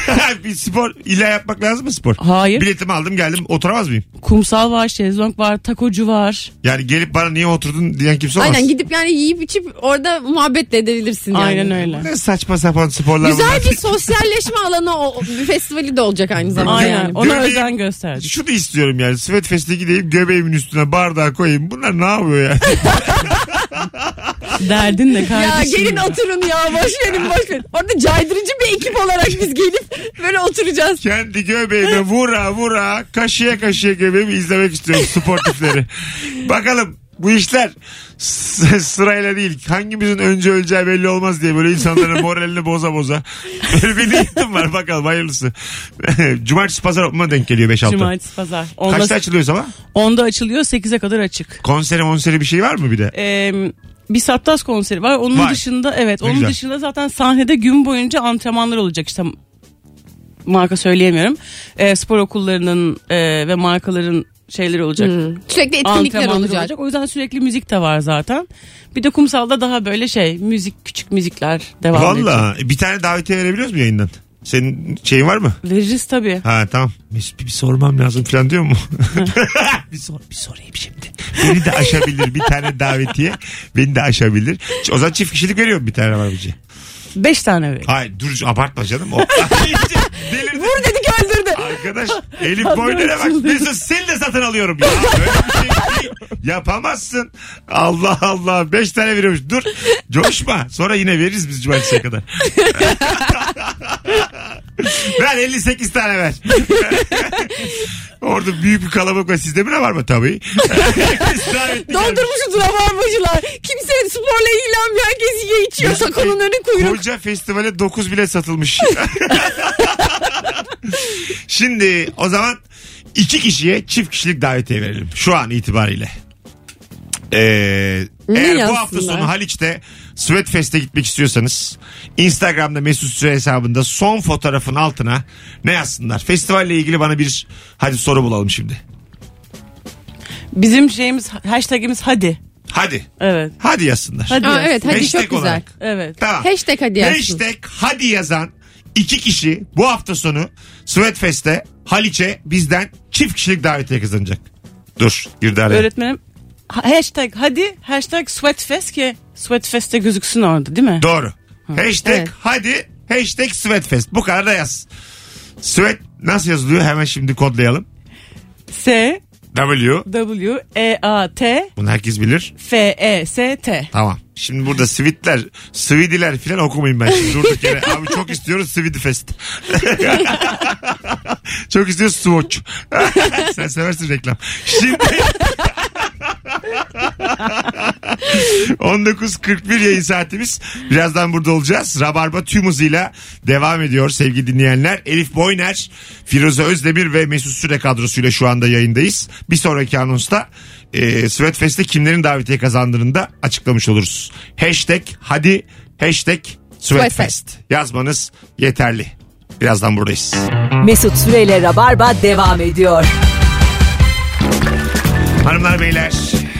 S2: bir spor. İlla yapmak lazım mı spor?
S8: Hayır.
S2: Biletimi aldım geldim. Oturamaz mıyım?
S8: Kumsal var, şezlong var, takocu var.
S2: Yani gelip bana niye oturdun diyen kimse olmaz.
S3: Aynen gidip yani yiyip içip orada muhabbet de edebilirsin yani.
S8: Aynen öyle.
S2: Ne saçma sapan sporlar bunlar.
S3: Güzel bir sosyalleşme alanı o, o- bir festivali de olacak aynı zamanda
S8: Aynen.
S3: yani.
S8: Ona
S2: Göbeği-
S8: özen gösterdik.
S2: Şunu istiyorum yani. Svetfest'e gideyim göbeğimin üstüne bardağı koyayım. Bunlar ne yapıyor ya?
S8: Derdin de
S3: Ya
S8: kardeşim.
S3: gelin oturun ya boş verin boş verin. Orada caydırıcı bir ekip olarak biz gelip böyle oturacağız.
S2: Kendi göbeğime vura vura kaşıya kaşıya göbeğimi izlemek istiyorum sportifleri. Bakalım bu işler s- sırayla değil. Hangimizin önce öleceği belli olmaz diye böyle insanların moralini boza boza. Böyle bir niyetim var bakalım hayırlısı. Cumartesi pazar mı denk geliyor 5-6?
S8: Cumartesi pazar. Onda,
S2: Kaçta açılıyor sabah?
S8: 10'da açılıyor 8'e kadar açık.
S2: Konseri monseri bir şey var mı bir de?
S8: Ee, bir Sattas konseri var. Onun
S2: Var.
S8: dışında evet
S2: Ne
S8: onun
S2: güzel.
S8: dışında zaten sahnede gün boyunca antrenmanlar olacak işte marka söyleyemiyorum. Ee, spor okullarının e, ve markaların şeyleri olacak.
S3: Sürekli etkinlikler
S8: Antrenmanlar olacak.
S3: Hmm, olacak.
S8: O yüzden sürekli müzik de var zaten. Bir de kumsalda daha böyle şey müzik küçük müzikler devam edecek.
S2: Valla bir tane davetiye verebiliyoruz mu yayından? Senin şeyin var mı?
S8: Veririz tabii.
S2: Ha tamam. Mesut bir, bir sormam lazım falan diyor mu? bir, sor, bir sorayım şimdi. Beni de aşabilir bir tane davetiye. Beni de aşabilir. Ç- O zaman çift kişilik veriyorum bir tane var bici.
S8: Beş tane ver.
S2: Hayır dur abartma canım. O. Delirdim.
S3: Vur dedik öldürdü.
S2: Arkadaş Elif Boyner'e bak. Mesut seni de satın alıyorum ya. Böyle bir şey değil. Yapamazsın. Allah Allah. Beş tane veriyormuş. Dur. Coşma. Sonra yine veririz biz cumartesiye kadar. ver 58 tane ver. Orada büyük bir kalabalık var. Sizde bile var mı? Tabii. Davetli gelmiş.
S3: Doldurmuşuz rabarbacılar. Kimse sporla ilgilenmiyor. Herkes yiye içiyor.
S2: Mesut
S3: Sakonun
S2: Bey,
S3: önü kuyruk.
S2: Koca festivale 9 bilet satılmış. Şimdi o zaman iki kişiye çift kişilik davetiye verelim. Şu an itibariyle. Ee,
S3: Ne
S2: eğer bu
S3: yazsınlar?
S2: hafta sonu Haliç'te Sweatfest'e gitmek istiyorsanız Instagram'da Mesut Süre hesabında son fotoğrafın altına ne yazsınlar? Festivalle ilgili bana bir hadi soru bulalım şimdi.
S8: Bizim şeyimiz hashtagimiz hadi.
S2: Hadi.
S8: Evet.
S2: Hadi yazsınlar.
S8: Hadi.
S3: Aa, evet hadi
S2: Hashtag
S3: çok güzel.
S2: olarak.
S8: Evet.
S2: Tamam.
S3: Hashtag hadi yazsın.
S2: Hashtag hadi yazan iki kişi bu hafta sonu Sweatfest'te Haliç'e bizden çift kişilik davetiye kazanacak. Dur girdi araya.
S8: Öğretmenim ha- hashtag hadi hashtag sweatfest ki sweatfest'te gözüksün orada değil mi?
S2: Doğru. Hashtag
S3: Evet.
S2: hadi hashtag Sweatfest. Bu kadar da yaz. Sweat nasıl yazılıyor hemen şimdi kodlayalım.
S8: S
S2: W.
S8: W E A T
S2: Bunu herkes bilir.
S8: F E S T.
S2: Tamam. Şimdi burada Sweetler, Sweediler falan okumayayım ben şimdi durduk yere. Abi çok istiyoruz Sweetfest. çok istiyoruz Swatch. Sen seversin reklam. Şimdi 19.41 yayın saatimiz. Birazdan burada olacağız. Rabarba tüm hızıyla devam ediyor sevgili dinleyenler. Elif Boyner, Firuze Özdemir ve Mesut Süre kadrosuyla şu anda yayındayız. Bir sonraki anonsta e, Sweatfest'te kimlerin davetiye kazandığını da açıklamış oluruz. Hashtag hadi hashtag Sweatfest. Yazmanız yeterli. Birazdan buradayız.
S1: Mesut Süreyle Rabarba devam ediyor.
S2: Hanımlar beyler.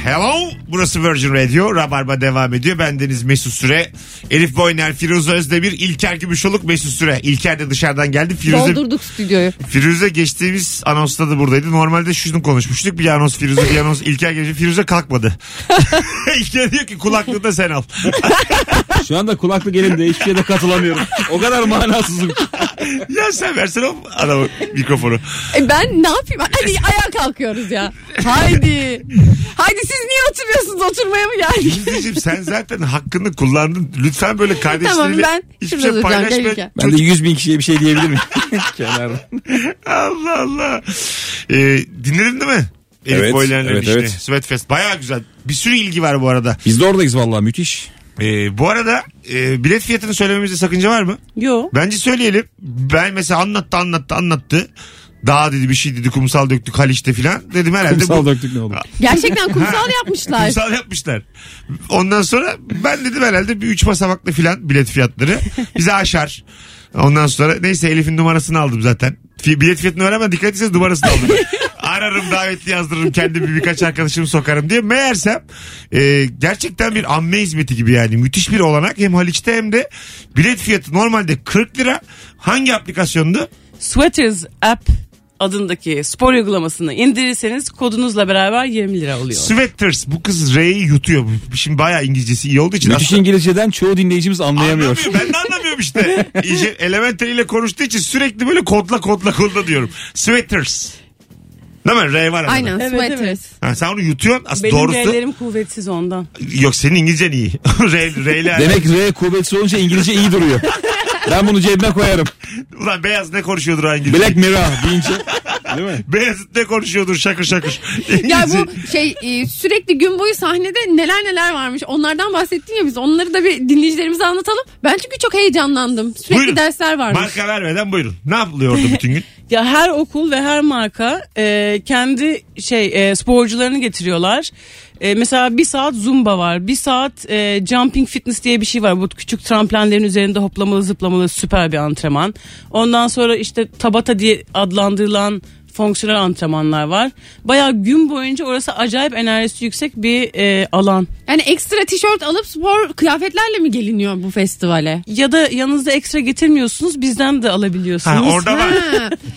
S2: Hello. Burası Virgin Radio. Rabarba devam ediyor. Bendeniz Mesut Süre. Elif Boyner, Firuze Özdemir, İlker Gümüşoluk, Mesut Süre. İlker de dışarıdan geldi. Firuze,
S3: Doldurduk stüdyoyu.
S2: Firuze geçtiğimiz anonsta da buradaydı. Normalde şunu konuşmuştuk. Bir anons Firuze, bir anons İlker gelince Firuze kalkmadı. İlker diyor ki kulaklığı da sen al.
S4: Şu anda kulaklık elimde hiçbir yere katılamıyorum. O kadar manasızım. ki.
S2: ya sen versene o adamı mikrofonu.
S3: E ben ne yapayım? Hadi ayağa kalkıyoruz ya. Haydi. Haydi siz niye oturuyorsunuz? Oturmaya mı geldik?
S2: Yüzdeciğim sen zaten hakkını kullandın. Lütfen böyle kardeşleriyle
S3: Tamam, ben
S2: hiçbir
S3: şurada
S2: şey
S3: duracağım,
S2: paylaşma.
S3: gelirken.
S4: Ben de 100 bin kişiye bir şey diyebilir miyim? Kenarda.
S2: Allah Allah. Ee, dinledin değil mi? Elif
S4: Evet,
S2: Boyler'in
S4: evet,
S2: işini.
S4: evet.
S2: Sweatfest. Baya güzel. Bir sürü ilgi var bu arada.
S4: Biz de oradayız vallahi müthiş.
S2: Ee, bu arada e, bilet fiyatını söylememizde sakınca var mı?
S8: Yo.
S2: Bence söyleyelim. Ben mesela anlattı anlattı anlattı. Dağ dedi bir şey dedi kumsal döktük Haliç'te filan. Dedim herhalde
S4: Kumsal
S2: bu
S4: döktük ne olur.
S3: Gerçekten kumsal yapmışlar.
S2: kumsal yapmışlar. Ondan sonra ben dedim herhalde bir üç basamaklı filan bilet fiyatları bizi aşar. Ondan sonra neyse Elif'in numarasını aldım zaten. Fi- Bilet fiyatını öğrenme dikkat etseniz numarasını aldım. Ararım davetli yazdırırım kendimi birkaç arkadaşımı sokarım diye. Meğersem e, gerçekten bir amme hizmeti gibi yani müthiş bir olanak. Hem Haliç'te hem de bilet fiyatı normalde 40 lira. Hangi aplikasyondu?
S8: Sweaters app adındaki spor uygulamasını indirirseniz kodunuzla beraber 20 lira oluyor.
S2: Sweaters. Bu kız R'yi yutuyor. Şimdi bayağı İngilizcesi iyi olduğu için.
S4: Müthiş
S2: aslında-
S4: İngilizceden çoğu dinleyicimiz anlayamıyor.
S2: Anlamıyor. Ben de anlamıyorum işte. İyice Elementary ile konuştuğu için sürekli böyle kodla kodla kodla diyorum. Sweaters. Değil mi? R var arada.
S3: Aynen
S8: Evet,
S3: sweaters.
S8: evet.
S2: Ha, sen onu yutuyorsun. Aslında
S8: Benim
S2: doğrusu.
S8: ellerim kuvvetsiz ondan.
S2: Yok senin İngilizcen iyi. R, R ile.
S4: Demek R kuvvetli olunca İngilizce iyi duruyor. Ben bunu cebime koyarım.
S2: Ulan beyaz ne konuşuyordur o İngilizce?
S4: Black Mirror deyince. Değil mi?
S2: Beyaz ne konuşuyordur şakır şakır.
S3: Ya
S2: İngilizce.
S3: bu şey e, sürekli gün boyu sahnede neler neler varmış. Onlardan bahsettin ya biz. Onları da bir dinleyicilerimize anlatalım. Ben çünkü çok heyecanlandım. Sürekli
S2: Buyurun.
S3: dersler varmış.
S2: Marka vermeden buyurun. Ne yapılıyor orada bütün gün?
S8: Ya her okul ve her marka e, kendi şey e, sporcularını getiriyorlar. E, mesela bir saat zumba var, bir saat e, jumping fitness diye bir şey var. Bu küçük tramplenlerin üzerinde hoplamalı zıplamalı süper bir antrenman. Ondan sonra işte tabata diye adlandırılan fonksiyonel antrenmanlar var. Bayağı gün boyunca orası acayip enerjisi yüksek bir e, alan.
S3: Yani ekstra tişört alıp spor kıyafetlerle mi geliniyor bu festivale?
S8: Ya da yanınızda ekstra getirmiyorsunuz, bizden de alabiliyorsunuz.
S2: Ha, orada var.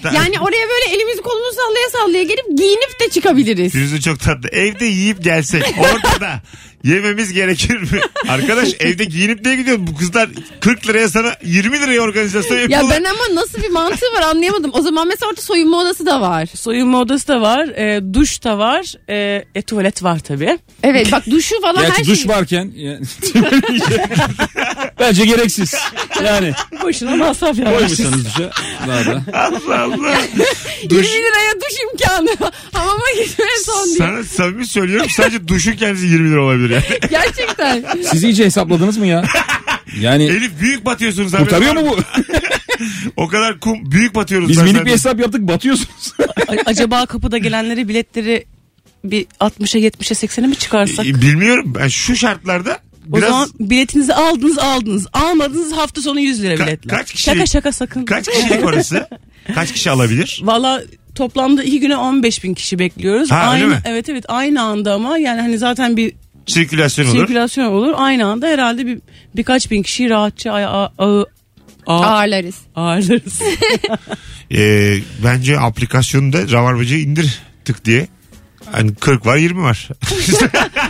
S3: Ha, yani oraya böyle elimizi kolumuzu sallaya sallaya gelip giyinip de çıkabiliriz.
S2: Yüzü çok tatlı. Evde yiyip gelsek orada da yememiz gerekir mi? Arkadaş evde giyinip ne gidiyorsun? Bu kızlar 40 liraya sana 20 liraya organizasyon
S3: Ya
S2: yapıyorlar.
S3: ben ama nasıl bir mantığı var anlayamadım. O zaman mesela orada soyunma odası da var.
S8: Soyunma odası da var, e, duş da var, e, e, tuvalet var tabii.
S3: Evet bak duşu falan her
S4: Gerçi duş
S3: şey.
S4: varken. yani- Bence gereksiz. Yani
S8: Boşuna masraf yapmışsınız.
S4: koymuşsanız duşa. Daha da.
S2: Allah Allah.
S3: 20
S2: Duş,
S3: liraya duş imkanı. Hamama gitmeye son diye.
S2: sana samimi söylüyorum sadece duşun kendisi 20 lira olabilir yani.
S3: Gerçekten.
S4: Siz iyice hesapladınız mı ya? Yani
S2: Elif büyük batıyorsunuz. abi.
S4: E- kurtarıyor mu bu?
S2: O kadar kum büyük batıyoruz.
S4: Biz
S2: ben
S4: minik
S2: senden.
S4: bir hesap yaptık batıyorsunuz.
S8: A- Acaba kapıda gelenlere biletleri bir 60'a 70'e 80'e mi çıkarsak?
S2: E, Bilmiyorum ben şu şartlarda
S8: O
S2: biraz
S8: zaman biletinizi aldınız aldınız. Almadınız hafta sonu 100 lira
S2: Ka-
S8: biletler.
S2: kaç kişi-
S8: Şaka şaka sakın.
S2: kaç kişilik orası? Kaç kişi alabilir?
S8: Valla toplamda iki güne 15 bin kişi bekliyoruz.
S2: Ha, öyle
S8: aynı,
S2: mi?
S8: Evet evet aynı anda ama yani hani zaten bir
S2: Sirkülasyon olur.
S8: sirkülasyon olur. Aynı anda herhalde bir birkaç bin kişiyi rahatça ay- a- ağı- a-
S3: Ağırlarız.
S8: ağırlarız.
S2: E, bence aplikasyonu da Ravarbacı'ya indir tık diye. Hani 40 var 20 var.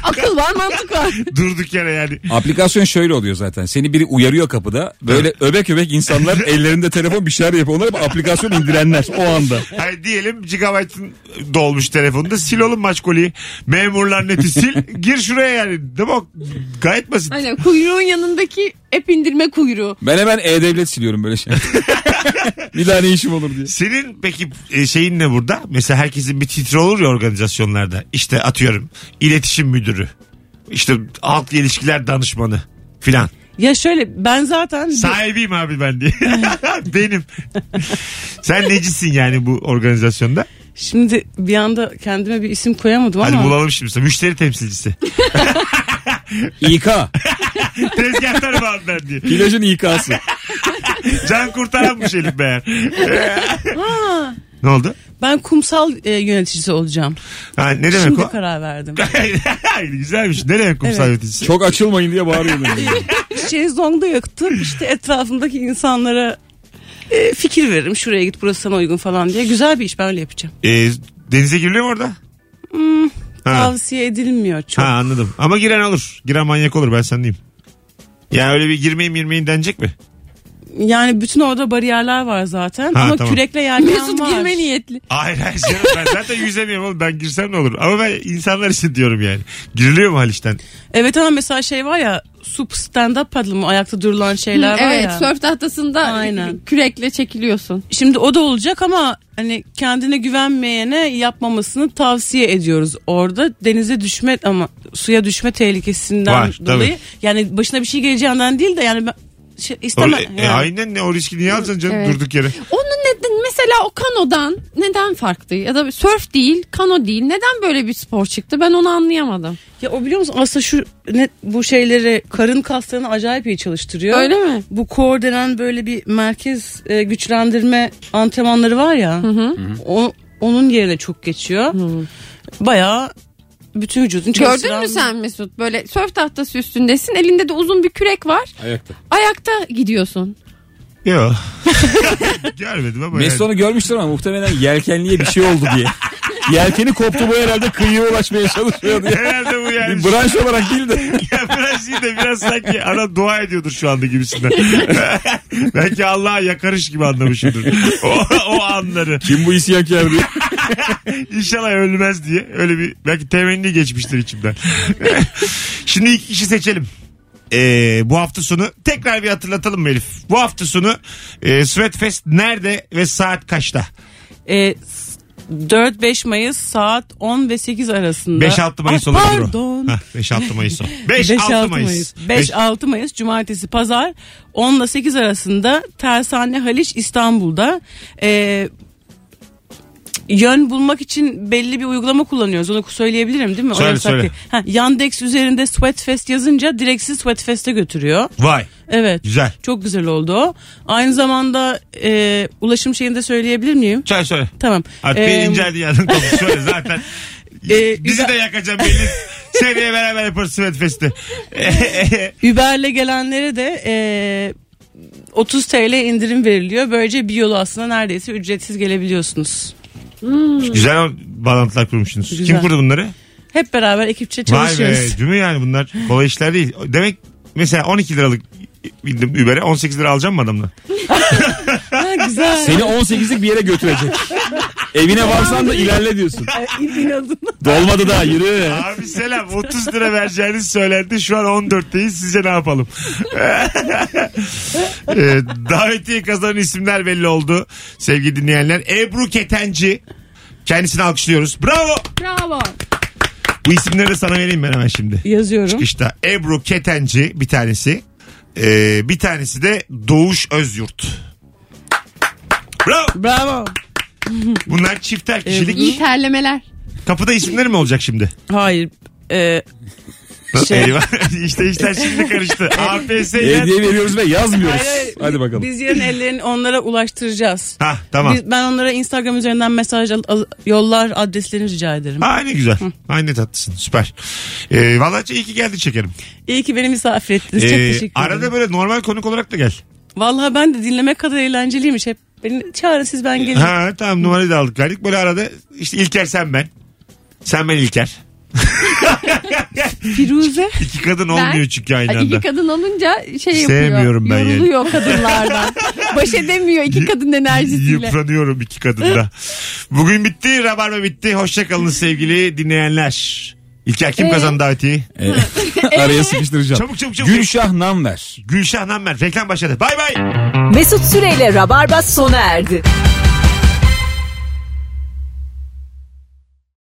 S3: Akıl var mantık var.
S2: Durduk yere yani.
S4: Aplikasyon şöyle oluyor zaten. Seni biri uyarıyor kapıda. Böyle öbek öbek insanlar ellerinde telefon bir şeyler yapıyor. Onlar hep aplikasyon indirenler o anda.
S2: Hani diyelim gigabyte'ın dolmuş telefonda sil oğlum maç golü. Memurlar neti sil. Gir şuraya yani. Değil mi? O Gayet basit.
S3: Aynen kuyruğun yanındaki app indirme kuyruğu.
S4: Ben hemen e-devlet siliyorum böyle şey. bir daha ne işim olur diye.
S2: Senin peki e, şeyin ne burada? Mesela herkesin bir titri olur ya organizasyonlarda. İşte atıyorum iletişim müdürü. İşte halkla ilişkiler danışmanı filan.
S8: ya şöyle ben zaten bir-
S2: Sahibiyim abi ben diye. Benim. Sen necisin yani bu organizasyonda?
S8: Şimdi bir anda kendime bir isim koyamadım
S2: Hadi
S8: ama.
S2: bulalım şimdi. sana. Müşteri temsilcisi.
S4: İK.
S2: Tezgahtar bağımlar diye.
S4: Plajın İK'sı.
S2: Can kurtaranmış Elif Meğer. ne oldu?
S8: Ben kumsal e, yöneticisi olacağım.
S2: Ha, ne demek
S8: Şimdi
S2: o?
S8: karar verdim.
S2: Güzelmiş. Ne demek kumsal yöneticisi?
S4: Çok açılmayın diye bağırıyordum.
S8: Şezlong'da yaktım. İşte etrafımdaki insanlara e, fikir veririm. Şuraya git burası sana uygun falan diye. Güzel bir iş ben öyle yapacağım.
S2: Ee, denize giriliyor mu orada? Ha.
S8: Tavsiye edilmiyor çok.
S2: ha anladım. Ama giren olur. Giren manyak olur ben sen diyeyim. Yani öyle bir girmeyin girmeyin denecek mi?
S8: Yani bütün orada bariyerler var zaten.
S2: Ha,
S8: Ama
S2: tamam.
S8: kürekle yelken
S3: Mesut
S8: var.
S3: girme niyetli.
S2: Hayır hayır canım ben zaten yüzemiyorum oğlum ben girsem ne olur. Ama ben insanlar için diyorum yani. Giriliyor mu Haliç'ten?
S8: Evet ama mesela şey var ya sup stand up paddle mı ayakta durulan şeyler var
S3: evet
S8: ya.
S3: sörf tahtasında
S8: Aynen.
S3: kürekle çekiliyorsun.
S8: Şimdi o da olacak ama hani kendine güvenmeyene yapmamasını tavsiye ediyoruz. Orada denize düşme ama suya düşme tehlikesinden
S2: Var, tabii.
S8: dolayı. Yani başına bir şey geleceğinden değil de yani ben şey, istemem.
S2: Öyle- e,
S8: yani.
S2: aynen ne o riski niye alacaksın canım
S3: Evet.
S2: durduk yere.
S3: Onun neden mesela o kanodan neden farklı ya da sörf değil kano değil neden böyle bir spor çıktı ben onu anlayamadım.
S8: Ya o biliyor musun aslında şu ne, bu şeyleri karın kaslarını acayip iyi çalıştırıyor.
S3: Öyle mi?
S8: Bu core denen böyle bir merkez e, güçlendirme antrenmanları var ya. O, onun yerine çok geçiyor. Bayağı bütün vücudun
S3: Gördün mü sen Mesut böyle sörf tahtası üstündesin elinde de uzun bir kürek var
S4: Ayakta.
S3: ayakta gidiyorsun.
S2: Yok. Görmedim ama
S4: Mesut
S2: yani.
S4: onu görmüştür ama muhtemelen yelkenliye bir şey oldu diye. Yelkeni koptu bu herhalde kıyıya ulaşmaya çalışıyordu.
S2: Herhalde bu yani.
S4: Bir branş olarak değil de.
S2: Ya biraz iyi de biraz sanki ana dua ediyordur şu anda gibisinden. Belki Allah'a yakarış gibi anlamışımdır. O, o anları.
S4: Kim bu isyankar diye.
S2: İnşallah ölmez diye. Öyle bir belki temenni geçmiştir içimden. Şimdi iki kişi seçelim. Ee, bu hafta sonu tekrar bir hatırlatalım mı Elif? Bu hafta sonu e, Sweatfest nerede ve saat kaçta?
S8: E, s- 4-5 Mayıs saat 10 ve 8 arasında.
S2: 5-6 Mayıs
S8: Ah,
S2: olabilir o.
S8: Pardon.
S2: Hah, 5-6 Mayıs o. 5-6 Mayıs.
S8: 5-6 Mayıs.
S2: 5
S8: 5-6 Mayıs cumartesi pazar 10 ile 8 arasında Tersane Haliç İstanbul'da Ee, yön bulmak için belli bir uygulama kullanıyoruz. Onu söyleyebilirim değil mi?
S2: Söyle,
S8: Orası
S2: söyle.
S8: hakkı. Ha, Yandex üzerinde Sweatfest yazınca direkt sizi Sweatfest'e götürüyor.
S2: Vay
S8: Evet.
S2: güzel.
S8: Çok güzel oldu o. Aynı zamanda e, ulaşım şeyini de söyleyebilir miyim?
S2: Söyle söyle.
S8: Tamam.
S2: Artık
S8: Ee,
S2: beni inceldi yanın konusu şöyle zaten. Bizi
S8: Ee, güzel-
S2: de yakacağım belli. Seneye beraber yaparız Sweatfest'i.
S8: Uber'le gelenlere de e, 30 TL indirim veriliyor. Böylece bir yolu aslında neredeyse ücretsiz gelebiliyorsunuz.
S2: Güzel o- bağlantılar kurmuşsunuz. Kim
S8: Güzel.
S2: kurdu bunları?
S8: Hep beraber ekipçe
S2: Vay be
S8: çalışıyoruz.
S2: değil mi yani bunlar kolay işler değil. Demek mesela 12 liralık bildim Uber'e 18 lira alacağım mı adamla?
S8: Ha, güzel.
S4: Seni 18'lik bir yere götürecek. Evine varsan da ilerle diyorsun. Dolmadı daha yürü.
S2: Abi selam 30 lira vereceğiniz söylendi şu an 14'teyiz sizce ne yapalım? Ee, davetiye kazanan isimler belli oldu sevgili dinleyenler. Ebru Ketenci kendisini alkışlıyoruz. Bravo.
S3: Bravo.
S2: Bu isimleri de sana vereyim ben hemen şimdi.
S8: Yazıyorum.
S2: İşte Ebru Ketenci bir tanesi. Ee, bir tanesi de Doğuş Özyurt. Bravo.
S8: Bravo.
S2: Bunlar çifter
S3: İyi
S2: kişilik.
S3: terlemeler.
S2: Kapıda isimleri mi olacak şimdi?
S8: Hayır. E, Şey-
S2: Eyvah. işte işler şimdi karıştı. APS ile...
S4: Hediye veriyoruz ve yazmıyoruz.
S8: hayır, hayır.
S4: Hadi bakalım.
S8: Biz yarın ellerini onlara ulaştıracağız.
S2: Ha tamam.
S8: Biz- ben onlara Instagram üzerinden mesaj al- al- yollar adreslerini rica ederim.
S2: Ha ne güzel. Ha ne tatlısın. Süper. Ee, vallahi iyi ki geldin şekerim.
S8: İyi ki beni misafir ettiniz. Çok
S2: Ee,
S8: teşekkür ederim.
S2: arada böyle normal konuk olarak da gel.
S8: Vallahi ben de dinlemek kadar eğlenceliymiş. Hep beni çağırın siz ben gelirim.
S2: Ha tamam numarayı da aldık geldik. Böyle arada işte İlker sen ben. Sen ben İlker.
S8: Firuze.
S2: İki kadın olmuyor çünkü aynı
S3: Ay,
S2: anda.
S3: iki kadın olunca şey yapıyor.
S2: Sevmiyorum ben yani.
S3: Yoruluyor kadınlardan. Baş edemiyor iki kadın enerjisiyle.
S2: Yıpranıyorum iki kadında. Bugün bitti. Rabarba bitti. Hoşçakalın sevgili dinleyenler. İlker kim kazandı davetiyi?
S4: Araya sıkıştıracağım.
S2: Çabuk, çabuk, çabuk.
S4: Gülşah Namver.
S2: Gülşah Nammer. Reklam başladı. Bay bay.
S1: Mesut Süreyle Rabarba sona erdi.